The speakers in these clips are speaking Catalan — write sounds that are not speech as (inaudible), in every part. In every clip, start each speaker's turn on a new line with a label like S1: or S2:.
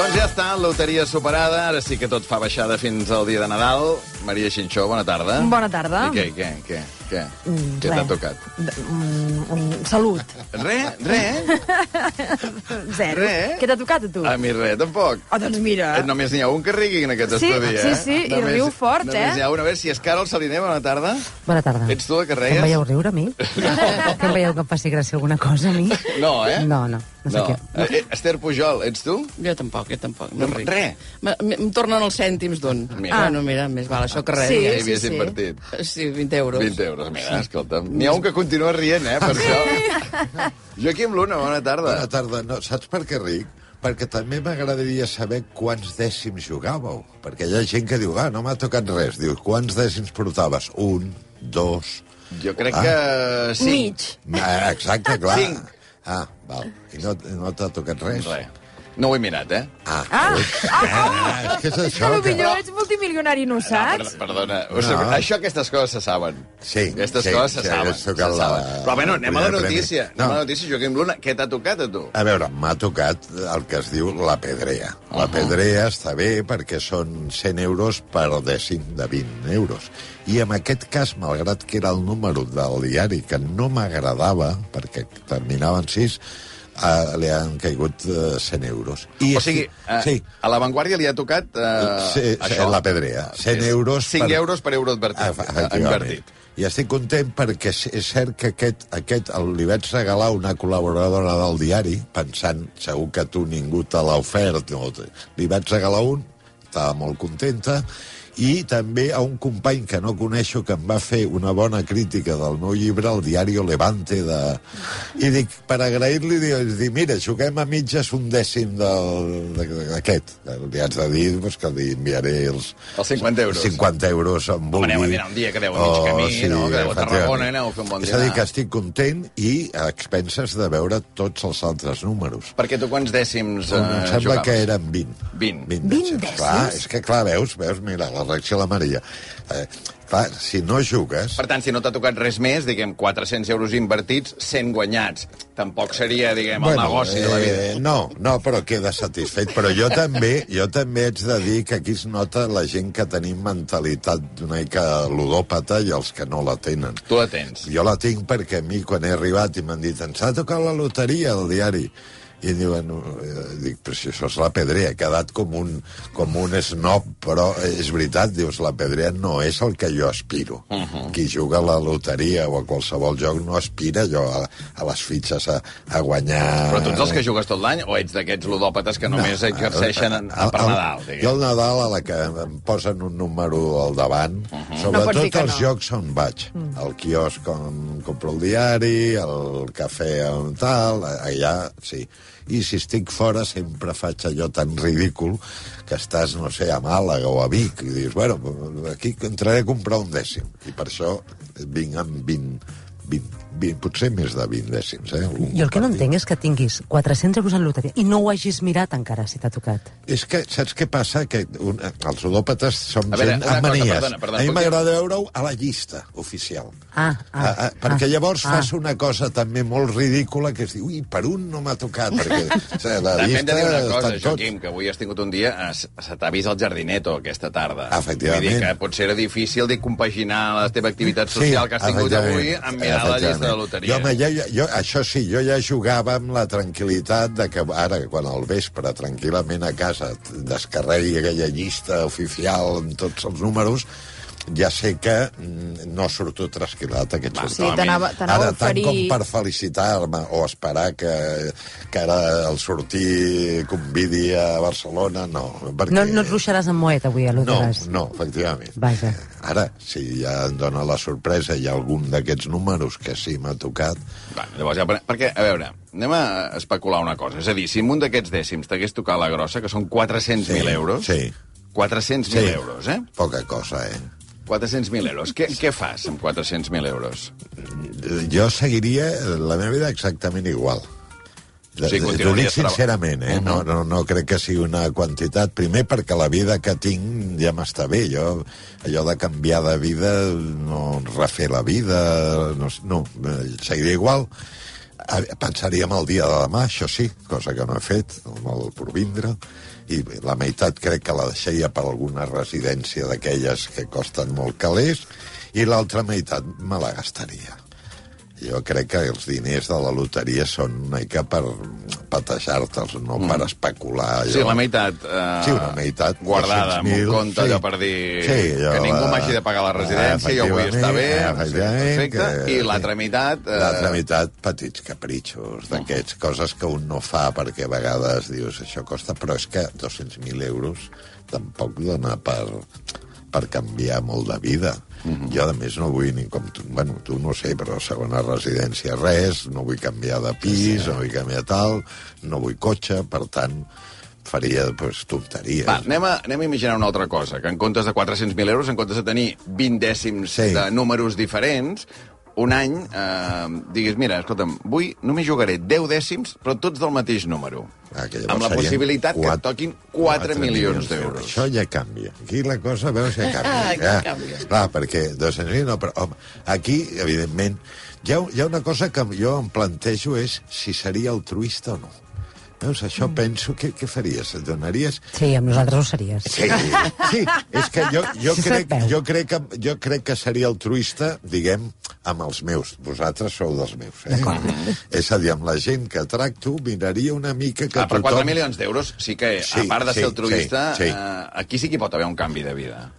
S1: Doncs loteria superada, ara sí que tot fa baixada fins al dia de Nadal. Maria Xinxó, bona tarda.
S2: Bona tarda.
S1: I què, què, què? Què, mm, què t'ha
S2: res.
S1: tocat?
S2: D- mm, mm, salut.
S1: Re, re,
S2: Zero.
S1: Re?
S2: Què t'ha tocat, a tu?
S3: Ah,
S1: a mi re, tampoc.
S2: Oh, doncs mira.
S1: Eh, Només n'hi ha un que rigui en aquest
S2: Sí,
S1: estudi, eh?
S2: sí, sí, i
S1: Només-
S2: riu fort,
S1: només
S2: eh?
S1: Només hi ha un. A veure si és Carol Saliner, bona tarda.
S3: Bona tarda.
S1: Ets tu la que
S3: Que
S1: reies?
S3: em veieu riure, a mi? No. Que em veieu que em faci gràcia alguna cosa, a mi?
S1: No, eh?
S3: No, no. No sé
S1: No.
S3: què.
S1: Eh, Esther Pujol, ets tu?
S4: Jo tampoc, jo tampoc. No
S1: No,
S4: ric.
S1: re.
S4: Me- me- Em tornen els cèntims d'un.
S1: Mira.
S4: Ah, no, mira, més val això que res.
S2: Sí,
S1: ja
S4: Ja
S1: hi havies
S2: sí, sí.
S1: invertit.
S4: hi- Sí, 20 euros.
S1: 20 euros, mira, escolta'm. N'hi ha un que continua rient, eh, per això. Joaquim Luna, bona tarda.
S5: Bona tarda. No, saps per què ric? Perquè també m'agradaria saber quants dècims jugàveu. Perquè hi ha gent que diu, ah, no m'ha tocat res. Diu, quants dècims portaves? Un, dos...
S1: Jo crec
S5: Ah.
S1: que... Sí.
S2: Mig.
S5: Ah, exacte, clar.
S1: Cinc.
S5: Ah, val. I no, no t'ha tocat res?
S1: Re. No ho he mirat, eh?
S5: Ah,
S2: Ah, ah,
S5: ah, és que és
S2: és que
S5: això que...
S2: potser ets multimilionari i no ho saps.
S1: Per, Ah, perdona, o sigui,
S5: No.
S1: això aquestes coses se saben.
S5: Ah. Sí,
S1: Aquestes
S5: sí,
S1: coses se
S5: sí,
S1: saben.
S5: hagués
S1: Se
S5: tocat la-
S1: saben. Però bueno, anem a la
S5: el primer
S1: notícia.
S5: premi.
S1: Anem a la
S5: eh, No.
S1: notícia, Joaquim Luna. Què t'ha tocat a tu?
S5: A veure, m'ha tocat el que es diu la pedrea. La pedrea està bé perquè són 100 euros per dècim de 20 euros. I en aquest cas, malgrat que era el número del diari que no m'agradava, perquè terminaven 6, eh, li han caigut eh, 100 euros. I
S1: O sigui, eh,
S5: sí,
S1: a l'avantguàrdia li ha tocat eh,
S5: sí,
S1: això.
S5: la pedrea. 100 euros Ah,
S1: 5 euros per euro advertit.
S5: Efe-
S1: invertit.
S5: I estic content perquè és és cert que aquest, aquest el- li vaig regalar una col·laboradora del diari, pensant, segur que tu ningú te l'ha ofert, no, te- li vaig regalar un, estava molt contenta, i també a un company que no coneixo que em va fer una bona crítica del meu llibre, el diario Levante, de... i dic, per agrair-li, dic, dic, mira, juguem a mitges un dècim del- de- d'aquest. Li haig de dir doncs, que li enviaré els...
S1: Els 50 euros.
S5: 50 euros en vulgui. Oh,
S1: Aneu a dinar un dia, que deu a mig camí, no? Que deu a Tarragona,
S5: efectivament.
S1: aneu a fer un bon
S5: És a dir,
S1: dinar.
S5: que estic content i a expenses de veure tots els altres números.
S1: Perquè tu quants dècims eh,
S5: em sembla
S1: jugaves?
S5: que eren 20.
S1: 20.
S5: 20
S2: dècims?
S5: Clar, és que clar, veus, veus, mira, la reacció de la Maria. Eh, clar, si no jugues...
S1: Per tant, si no t'ha tocat res més, diguem, 400 euros invertits, 100 guanyats. Tampoc seria, diguem, el negoci de la vida.
S5: Eh, no, no, però queda satisfet. Però jo també, jo també haig de dir que aquí es nota la gent que tenim mentalitat una mica ludòpata i els que no la tenen.
S1: Tu la tens.
S5: Jo la tinc perquè a mi, quan he arribat i m'han dit ens ha tocat la loteria al diari, i em diuen, eh, dic, però si això és la pedrea, he quedat com un, com un snob, però és veritat, dius, la pedrea no és el que jo aspiro. Uh
S1: Uh-huh.
S5: -huh. Qui juga a la loteria o a qualsevol joc no aspira jo a, a les fitxes a, a guanyar...
S1: Però tu ets dels que jugues tot l'any o ets d'aquests ludòpates que només exerceixen a, a, per
S5: el-
S1: Nadal?
S5: Ah, Jo
S1: Diguem.
S5: el Nadal, a la que em posen un número al davant, uh -huh.
S2: No pots dir
S5: sobretot
S2: que
S5: no els
S2: no.
S5: jocs on vaig. Mm. El quiosc on compro el diari, el cafè on tal, allà, sí. I si estic fora sempre faig allò tan ridícul que estàs, no sé, a Màlaga o a Vic i dius, bueno, aquí entraré a comprar un dècim. I per això vinc amb 20, 20, 20 potser més de 20 dècims, eh? algun
S3: Jo el que no
S5: partit.
S3: entenc és que tinguis 400 euros en loteria i no ho hagis mirat encara, si t'ha tocat.
S5: És que saps què passa? Que un, els ludòpates som
S1: A veure,
S5: gent
S1: una
S5: amb
S1: cosa,
S5: manies.
S1: perdona, perdona,
S5: a mi
S1: puc dir-
S5: m'agrada veure-ho a la llista oficial.
S3: Ah, ah,
S5: perquè
S3: ah,
S5: llavors
S3: ah.
S5: fas una cosa també molt ridícula que es diu, ui, per un no m'ha tocat, perquè o sigui, la
S1: També hem de
S5: llista
S1: dir una cosa,
S5: estan
S1: Joaquim, que avui has tingut un dia... eh, se- Se t'ha vist el jardineto aquesta tarda.
S5: Efectivament.
S1: Vull dir que potser era difícil de compaginar la teva activitat social que has tingut avui
S5: efectivament,
S1: amb mirar la llista de
S5: efectivament.
S1: loteria.
S5: Jo, home, ja, ja, jo, això sí, jo ja jugava amb la tranquil·litat de que ara, quan al vespre, tranquil·lament a casa, t- descarregui aquella llista oficial amb tots els números, ja sé que mm, no surto trasquilat aquest
S1: Va,
S5: sorteig.
S2: Sí, t'anava t'anava
S5: Ara,
S2: a
S5: tant com
S2: oferir...
S5: per felicitar-me o esperar que, que ara el sortir convidi a Barcelona, no. Perquè...
S3: No, no et ruixaràs amb moet avui, eh, a
S5: No,
S3: l'Uteres.
S5: no, efectivament.
S3: Vaja.
S5: Ara, si ja em dóna la sorpresa i algun d'aquests números que sí m'ha tocat...
S1: Va, llavors ja... pre- Perquè, a veure, anem a especular una cosa. És a dir, si en un d'aquests dècims t'hagués tocat la grossa, que són 400.000 euros...
S5: Sí,
S1: 400.000
S5: Sí.
S1: euros, eh?
S5: poca cosa, eh?
S1: 400.000 euros. Què, què fas amb 400.000 euros?
S5: Jo seguiria la meva vida exactament igual.
S1: O sigui,
S5: T'ho dic
S1: continuaries traba- Uh-huh.
S5: sincerament, eh? No, no, no crec que sigui una quantitat. Primer, perquè la vida que tinc ja m'està bé. Jo, allò de canviar de vida, no refer la vida... No, sé, no eh, seguiré igual. a- pensaríem el dia de demà, això sí, cosa que no he fet, no el provindre, i la meitat crec que la deixaria per alguna residència d'aquelles que costen molt calés, i l'altra meitat me la gastaria. Jo crec que els diners de la loteria són una mica per patejar-te'ls, no mm. per especular. allò.
S1: Sí, la meitat... Eh,
S5: Sí, una meitat,
S1: Guardada, en un
S5: 200.000,
S1: compte
S5: sí.
S1: allò per dir
S5: Sí, allò
S1: que ningú
S5: de-
S1: m'hagi de pagar la residència, jo vull estar bé,
S5: Efectivament,
S1: no sé,
S5: efectivament,
S1: perfecte,
S5: que-
S1: i l'altra meitat... Eh,
S5: L'altra meitat, petits capritxos d'aquests, coses que un no fa perquè a vegades dius això costa, però és que 200.000 euros tampoc dona per, per canviar molt de vida.
S1: Mhm.
S5: Jo, a més, no vull ni com tu... Bueno, tu no ho sé, però segona residència res, no vull canviar de pis, no vull canviar tal, no vull cotxe, per tant, faria pues, tonteries.
S1: Va, anem a, anem a imaginar una altra cosa, que en comptes de 400.000 euros, en comptes de tenir 20 dècims sí.
S5: Sí.
S1: de números diferents, un any eh, diguis, mira, escolta'm, avui només jugaré 10 dècims, però tots del mateix número.
S5: Ah, que llavors
S1: amb la
S5: serien
S1: possibilitat que
S5: quatre-
S1: et toquin 4, milions d'euros.
S5: Això ja canvia. Aquí la cosa,
S1: (laughs)
S5: veus,
S4: Ah,
S5: ja canvia.
S4: que
S5: ja.
S4: canvia.
S5: Clar, perquè 200.000 no, però home, aquí, evidentment, hi ha, hi ha una cosa que jo em plantejo és si seria altruista o no. Veus, això mm. penso, què, què faries? Et donaries...
S3: Sí, amb nosaltres ho series.
S5: Sí, sí, és que jo, jo,
S3: Sí,
S5: crec,
S3: se't veu.
S5: jo, crec que, jo crec que seria altruista, diguem, amb els meus. Vosaltres sou dels meus, eh?
S3: D'acord.
S5: És a dir, amb la gent que tracto, miraria una mica que
S1: Ah, però 4
S5: tothom...
S1: milions d'euros sí que, a
S5: Sí,
S1: part de
S5: sí,
S1: ser altruista,
S5: sí, sí.
S1: Eh, aquí sí que hi pot haver un canvi de vida.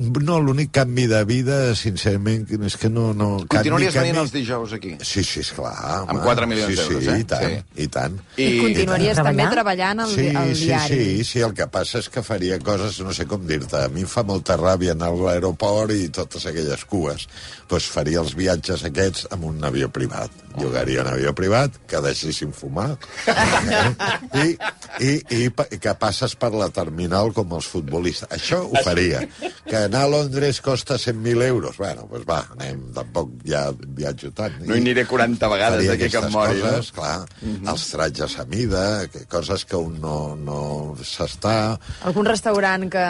S5: No, l'únic canvi de vida, sincerament, és que no... no
S1: Continuaries
S5: canvi,
S1: venint
S5: canvi...
S1: els dijous aquí?
S5: Sí, sí, esclar.
S1: Amb quatre milions
S5: sí,
S1: d'euros,
S5: sí,
S1: eh?
S5: I tant,
S1: Sí.
S5: i tant.
S2: I, I continuaries també
S3: Treballar?
S2: treballant al,
S5: Sí,
S2: al
S5: sí,
S2: diari.
S5: sí, sí, el que passa és que faria coses, no sé com dir-te, a mi em fa molta ràbia anar a l'aeroport i totes aquelles cues. Doncs pues faria els viatges aquests amb un avió privat. Llogaria un avió privat, que deixessin fumar, eh? i, i, i pa- que passes per la terminal com els futbolistes. Això ho faria. Que anar a Londres costa 100.000 euros. Bueno, doncs va, anem, tampoc ja viatjo tant.
S1: No hi aniré 40 vegades
S5: Faria
S1: d'aquí que em
S5: aquestes
S1: mori, no? Mhm.
S5: coses, clar, els tratges a mida, que- coses que un no, no s'està...
S2: Algun restaurant que,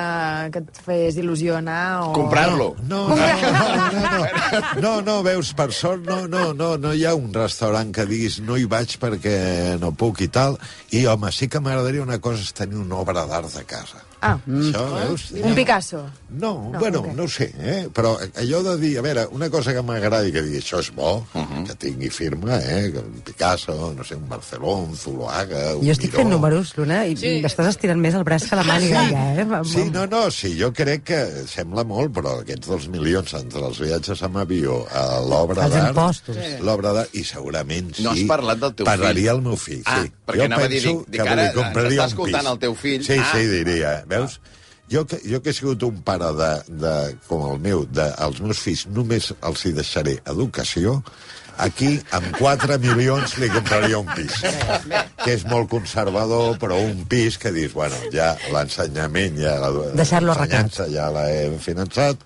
S2: que et fes il·lusió anar? O...
S1: Comprar-lo.
S5: No, no, no, no, no, no, no, veus, per sort, no, no, no, no hi ha un restaurant que diguis no hi vaig perquè no puc i tal. I, home, sí que m'agradaria una cosa és tenir una obra d'art a casa.
S2: Ah,
S1: Mm.
S5: Això, veus?
S2: un Picasso.
S5: No,
S2: No,
S5: no bueno,
S2: ok.
S5: no ho sé, eh? però allò de dir, a veure, una cosa que m'agradi, que digui, això és bo, uh
S1: Mhm.
S5: -huh. que tingui firma, eh? que un Picasso, no sé, un Barceló, un Zuloaga, un
S3: Jo estic
S5: Miró...
S3: fent números, Luna, i
S4: Sí.
S3: sí. m'estàs estirant més el braç que la màniga, ja, eh? Amb-
S5: Sí, no, no, sí, jo crec que sembla molt, però aquests dos milions entre els viatges amb avió a l'obra
S3: Els
S5: d'art...
S3: impostos.
S5: Sí. L'obra d'art, i segurament sí...
S1: No has parlat del teu
S5: parlaria
S1: fill.
S5: el meu fill,
S1: Ah,
S5: sí.
S1: perquè anava a dir, dic- dic,
S5: que
S1: ara
S5: li
S1: ens està
S5: compraria un pis.
S1: escoltant el teu fill.
S5: Sí,
S1: Ah.
S5: sí, diria, eh? veus? Jo que, jo que he sigut un pare de, de, com el meu, de, als meus fills només els hi deixaré educació, aquí amb 4 milions li compraria un pis. Que és molt conservador, però un pis que dius, bueno, ja l'ensenyament, ja la
S3: Deixar-lo arreglat.
S5: l'ensenyança ja l'he finançat,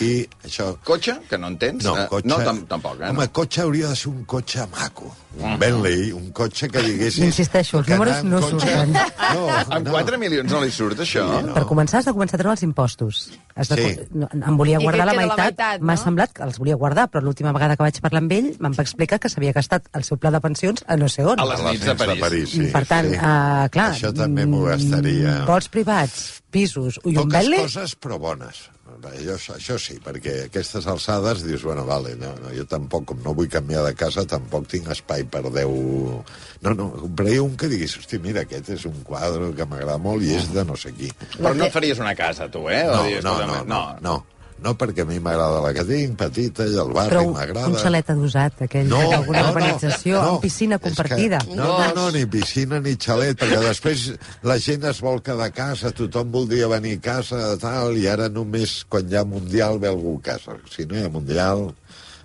S5: i això
S1: Cotxe, que no en tens?
S5: no,
S1: Eh,
S5: cotxe...
S1: No, tam tampoc, eh? Ah.
S5: Home, cotxe hauria de ser un cotxe maco. Un Bentley, un cotxe que diguessis...
S3: Insisteixo, els
S5: que
S3: números
S5: anar en
S3: no surten.
S5: No,
S1: Amb
S5: no.
S1: 4 milions no li surt, això?
S5: Sí,
S3: Per començar, has de començar a treure els impostos. Has de...
S5: Sí.
S3: co- No, em volia
S2: I
S3: guardar
S2: que
S3: la
S2: queda la
S3: meitat.
S2: meitat, no?
S3: M'ha semblat que els volia guardar, però l'última vegada que vaig parlar amb ell em va explicar que s'havia gastat el seu pla de pensions a no sé on.
S1: A les nits de París.
S5: sí,
S3: per tant,
S5: sí.
S3: eh, clar...
S5: Això també m'ho gastaria.
S3: mm, Vols privats, pisos i un
S5: Poques
S3: Bentley...
S5: coses, però bones. Això, això sí, perquè a aquestes alçades dius, bueno, vale, no, no, jo tampoc, com no vull canviar de casa, tampoc tinc espai per 10... No, no, compraria un que diguis, hosti, mira, aquest és un quadre que m'agrada molt i és de no sé qui.
S1: Però no et faries una casa, tu, eh? O
S5: No,
S1: diries,
S5: no, no,
S1: escolta'm,
S5: no, no, no, perquè a mi m'agrada la que tinc, petita, i el barri
S3: Però un,
S5: m'agrada.
S3: un xalet adosat, aquell
S5: No,
S3: d'alguna
S5: no, no,
S3: urbanització,
S5: no.
S3: amb piscina
S5: És que-
S3: compartida.
S5: No, no, no, ni piscina ni xalet, perquè després la gent es vol quedar a casa, tothom voldria venir a casa, tal, i ara només quan hi ha Mundial ve algú a casa. Si no hi ha Mundial,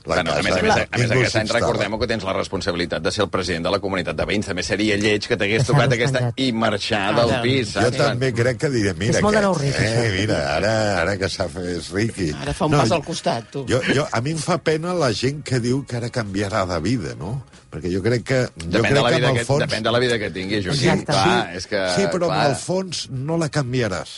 S5: la
S1: Bueno,
S5: casa...
S1: a més, a més, a més
S5: ningú
S1: aquest any
S5: s'instal·la.
S1: recordem que tens la responsabilitat de ser el president de la comunitat de veïns. També seria lleig que t'hagués tocat
S3: Deixar-los
S1: aquesta
S3: penjats.
S1: i marxar
S4: Ah,
S1: del
S4: ja.
S1: pis.
S5: Jo
S1: saps?
S5: també crec que diré, mira,
S3: És molt de nou
S5: aquest,
S3: ric,
S5: eh, mira, ara, ara que s'ha fet ric... i-
S4: Ara fa un pas al costat, tu.
S5: Jo, jo, a mi em fa pena la gent que diu que ara canviarà de vida, no? Perquè jo crec que... jo
S1: Depèn
S5: crec
S1: de, la
S5: que
S1: vida
S5: en el
S1: que,
S5: fons...
S1: depèn de la vida que tingui,
S5: Sí,
S1: Joaquim.
S3: Exacte.
S1: clar, és que,
S5: sí, però
S1: clar,
S5: en el fons no la canviaràs.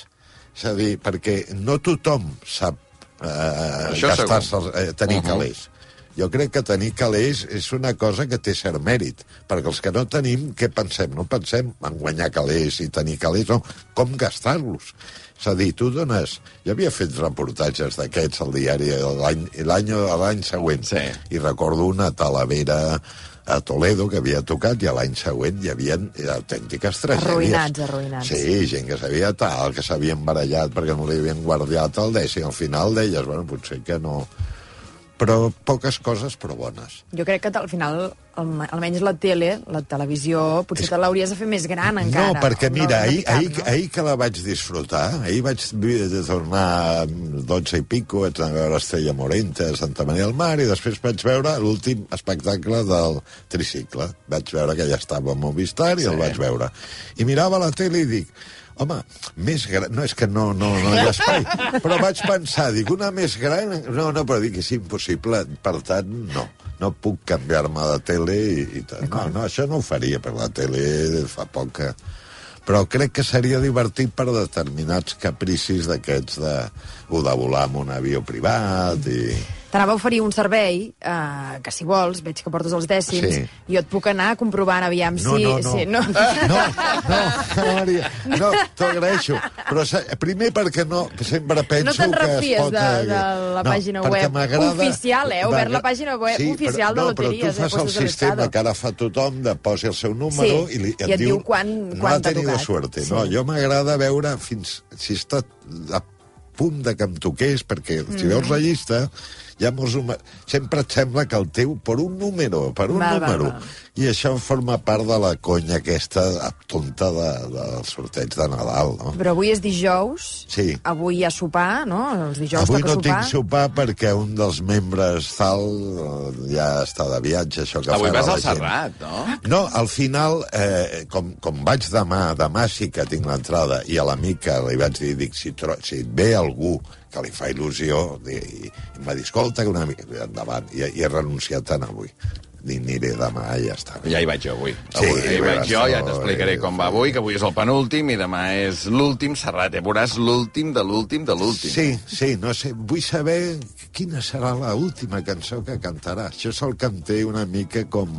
S5: És a dir, perquè no tothom sap eh,
S1: Això
S5: gastar-se, eh, tenir
S1: segur.
S5: calés. Jo crec que tenir calés és una cosa que té cert mèrit, perquè els que no tenim, què pensem? No pensem en guanyar calés i tenir calés, no, com gastar-los. És a dir, tu dones... Jo havia fet reportatges d'aquests al diari l'any l'any- l'any següent,
S1: Sí.
S5: i recordo una a Talavera a Toledo que havia tocat i a l'any següent hi havia autèntiques tragèdies.
S2: Arruïnats, arruïnats.
S5: Sí, Sí, gent que sabia tal, que s'havien barallat perquè no li havien guardiat el dècim. Al final deies, bueno, potser que no... Però poques coses, però bones.
S2: Jo crec que al final, alme- almenys la tele, la televisió, potser te l'hauries de fer més gran encara.
S5: no, perquè mira,
S2: de
S5: ahir,
S2: picar,
S5: ahir, ahir que la vaig disfrutar, ahir vaig vi- de tornar a 12 i pico, vaig anar a veure Estrella Morente a Santa Maria del Mar i després vaig veure l'últim espectacle del tricicle. Vaig veure que ja estava a Movistar i sí. el vaig veure. I mirava la tele i dic, home, més gran... No, és que no, no, no hi ha espai. Però vaig pensar, dic, una més gran... No, no, però dic, és impossible. Per tant, no. No puc canviar-me de tele i, i tant. No, no, això no ho faria per la tele fa poc que... Però crec que seria divertit per determinats capricis d'aquests de... o de volar amb un avió privat i...
S2: T'anava a oferir un servei, eh, que si vols, veig que portes els dècims,
S5: Sí.
S2: jo et puc anar comprovant aviam si... si
S5: no. No, no, no, Maria, no, t'ho agraeixo. Però sa- primer perquè no, sempre penso
S2: te'n
S5: que es
S2: refies
S5: pot...
S2: de-
S5: eh,
S2: de la pàgina
S5: perquè
S2: web
S5: m'agrada-
S2: oficial, eh? He obert la
S5: m'agra-
S2: pàgina web
S5: sí,
S2: oficial de
S5: però,
S2: loteries, eh?
S5: No, però tu
S2: Poses
S5: fas el sistema
S2: l'estado.
S5: que ara fa tothom de posi el seu número
S2: Sí,
S5: i, li,
S2: i et diu quan-
S5: no
S2: quan
S5: ha
S2: t'ha
S5: tenido
S2: tocat.
S5: suerte.
S2: Sí.
S5: No, jo m'agrada veure fins si està a punt de que em toqués, perquè si
S2: Mm.
S5: veus la llista, ja molts, home- sempre et sembla que el teu, per un número, per un
S2: Val, val,
S5: número.
S2: val.
S5: I això forma part de la conya aquesta tonta de, del sorteig de Nadal, no?
S2: Però avui és dijous,
S5: Sí.
S2: avui hi ha sopar, no? Els dijous
S5: Avui
S2: toca
S5: no
S2: sopar.
S5: tinc sopar perquè un dels membres tal eh, ja està de viatge, això que
S1: Avui
S5: farà
S1: vas
S5: la
S1: al
S5: gent.
S1: Serrat, no?
S5: No, al final, eh, com, com vaig demà, demà sí que tinc l'entrada, i a l'amic que li vaig dir, dic, si, tro si et ve algú que li fa il·lusió, i, i em va dir, escolta, que una mica, endavant, i, i he renunciat tant avui. Dic, aniré demà, i ja està.
S1: Ja hi vaig jo avui.
S5: Sí,
S1: avui ja hi vaig
S5: veuràs,
S1: jo, ja
S5: no,
S1: t'explicaré
S5: eh,
S1: com va avui, que avui és el penúltim i demà és l'últim Serrat. Eh? Veuràs l'últim de l'últim de l'últim.
S5: Sí, sí, no sé, vull saber quina serà l'última cançó que cantarà. Això és el que em té una mica com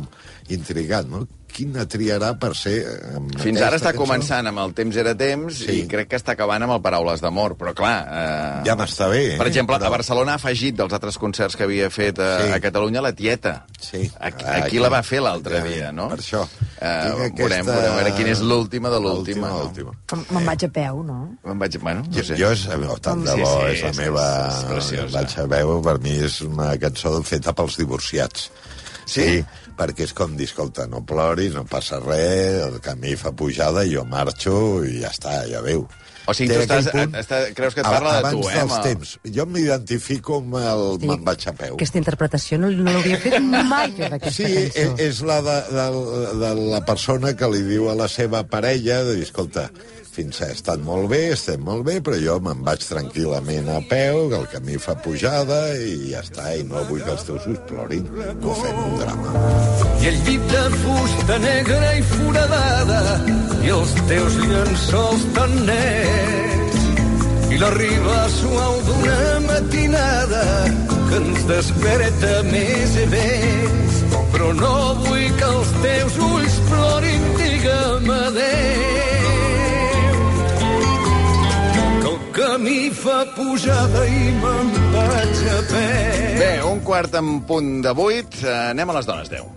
S5: intrigat, no? Quina triarà per ser... eh, amb
S1: Fins ara
S5: aquesta
S1: està
S5: cançó?
S1: començant amb el temps era temps i
S5: Sí.
S1: crec que està acabant amb el Paraules d'amor, però clar... Eh...
S5: Ja m'està bé, eh?
S1: Per exemple,
S5: Però-
S1: a Barcelona ha afegit dels altres concerts que havia fet a,
S5: Sí.
S1: a Catalunya la tieta.
S5: Sí.
S1: Aquí,
S5: Ah,
S1: aquí la va fer l'altre dia, no?
S5: Per això.
S1: Eh,
S5: Tinc
S1: veurem, veurem, a veure quina és l'última de l'última.
S5: L'última,
S1: no?
S5: l'última.
S2: Com- Me'n vaig a peu, no?
S1: Me'n vaig... Bueno,
S5: Jo,
S1: no sé.
S5: jo és, oh, tant de
S1: Sí,
S5: bo,
S1: sí,
S5: és la
S1: és-
S5: meva...
S1: és preciosa.
S5: la Xaveu, per mi, és una cançó feta pels divorciats. Sí? sí, perquè és com dir, escolta, no ploris, no passa res, el camí fa pujada, jo marxo i ja està, ja veu.
S1: O sigui,
S5: Té
S1: tu estàs- eh,
S5: aquell
S1: a- estàs- creus que et parla de tu, eh,
S5: abans Abans
S1: amb
S5: dels
S1: el-
S5: temps. Jo m'identifico amb el...
S3: Sí.
S5: Me'n vaig a peu.
S3: Aquesta interpretació no, no l'hauria fet mai jo d'aquesta
S5: Sí, eh, és,
S3: cançó.
S5: és la de, de, de la persona que li diu a la seva parella, de dir, escolta, fins ha estat molt bé, estem molt bé, però jo me'n vaig tranquil·lament a peu, que el camí fa pujada, i ja està, i no vull que els teus ulls plorin, no fem un drama.
S6: I el llit de fusta negra i foradada i els teus llençols tan nets i la riba suau d'una matinada que ens desperta més i més. Però no vull que els teus ulls plorin, digue'm adéu. Que el camí fa pujada i me'n vaig a peu.
S1: Bé, un quart en punt de vuit. eh, Anem a les dones 10.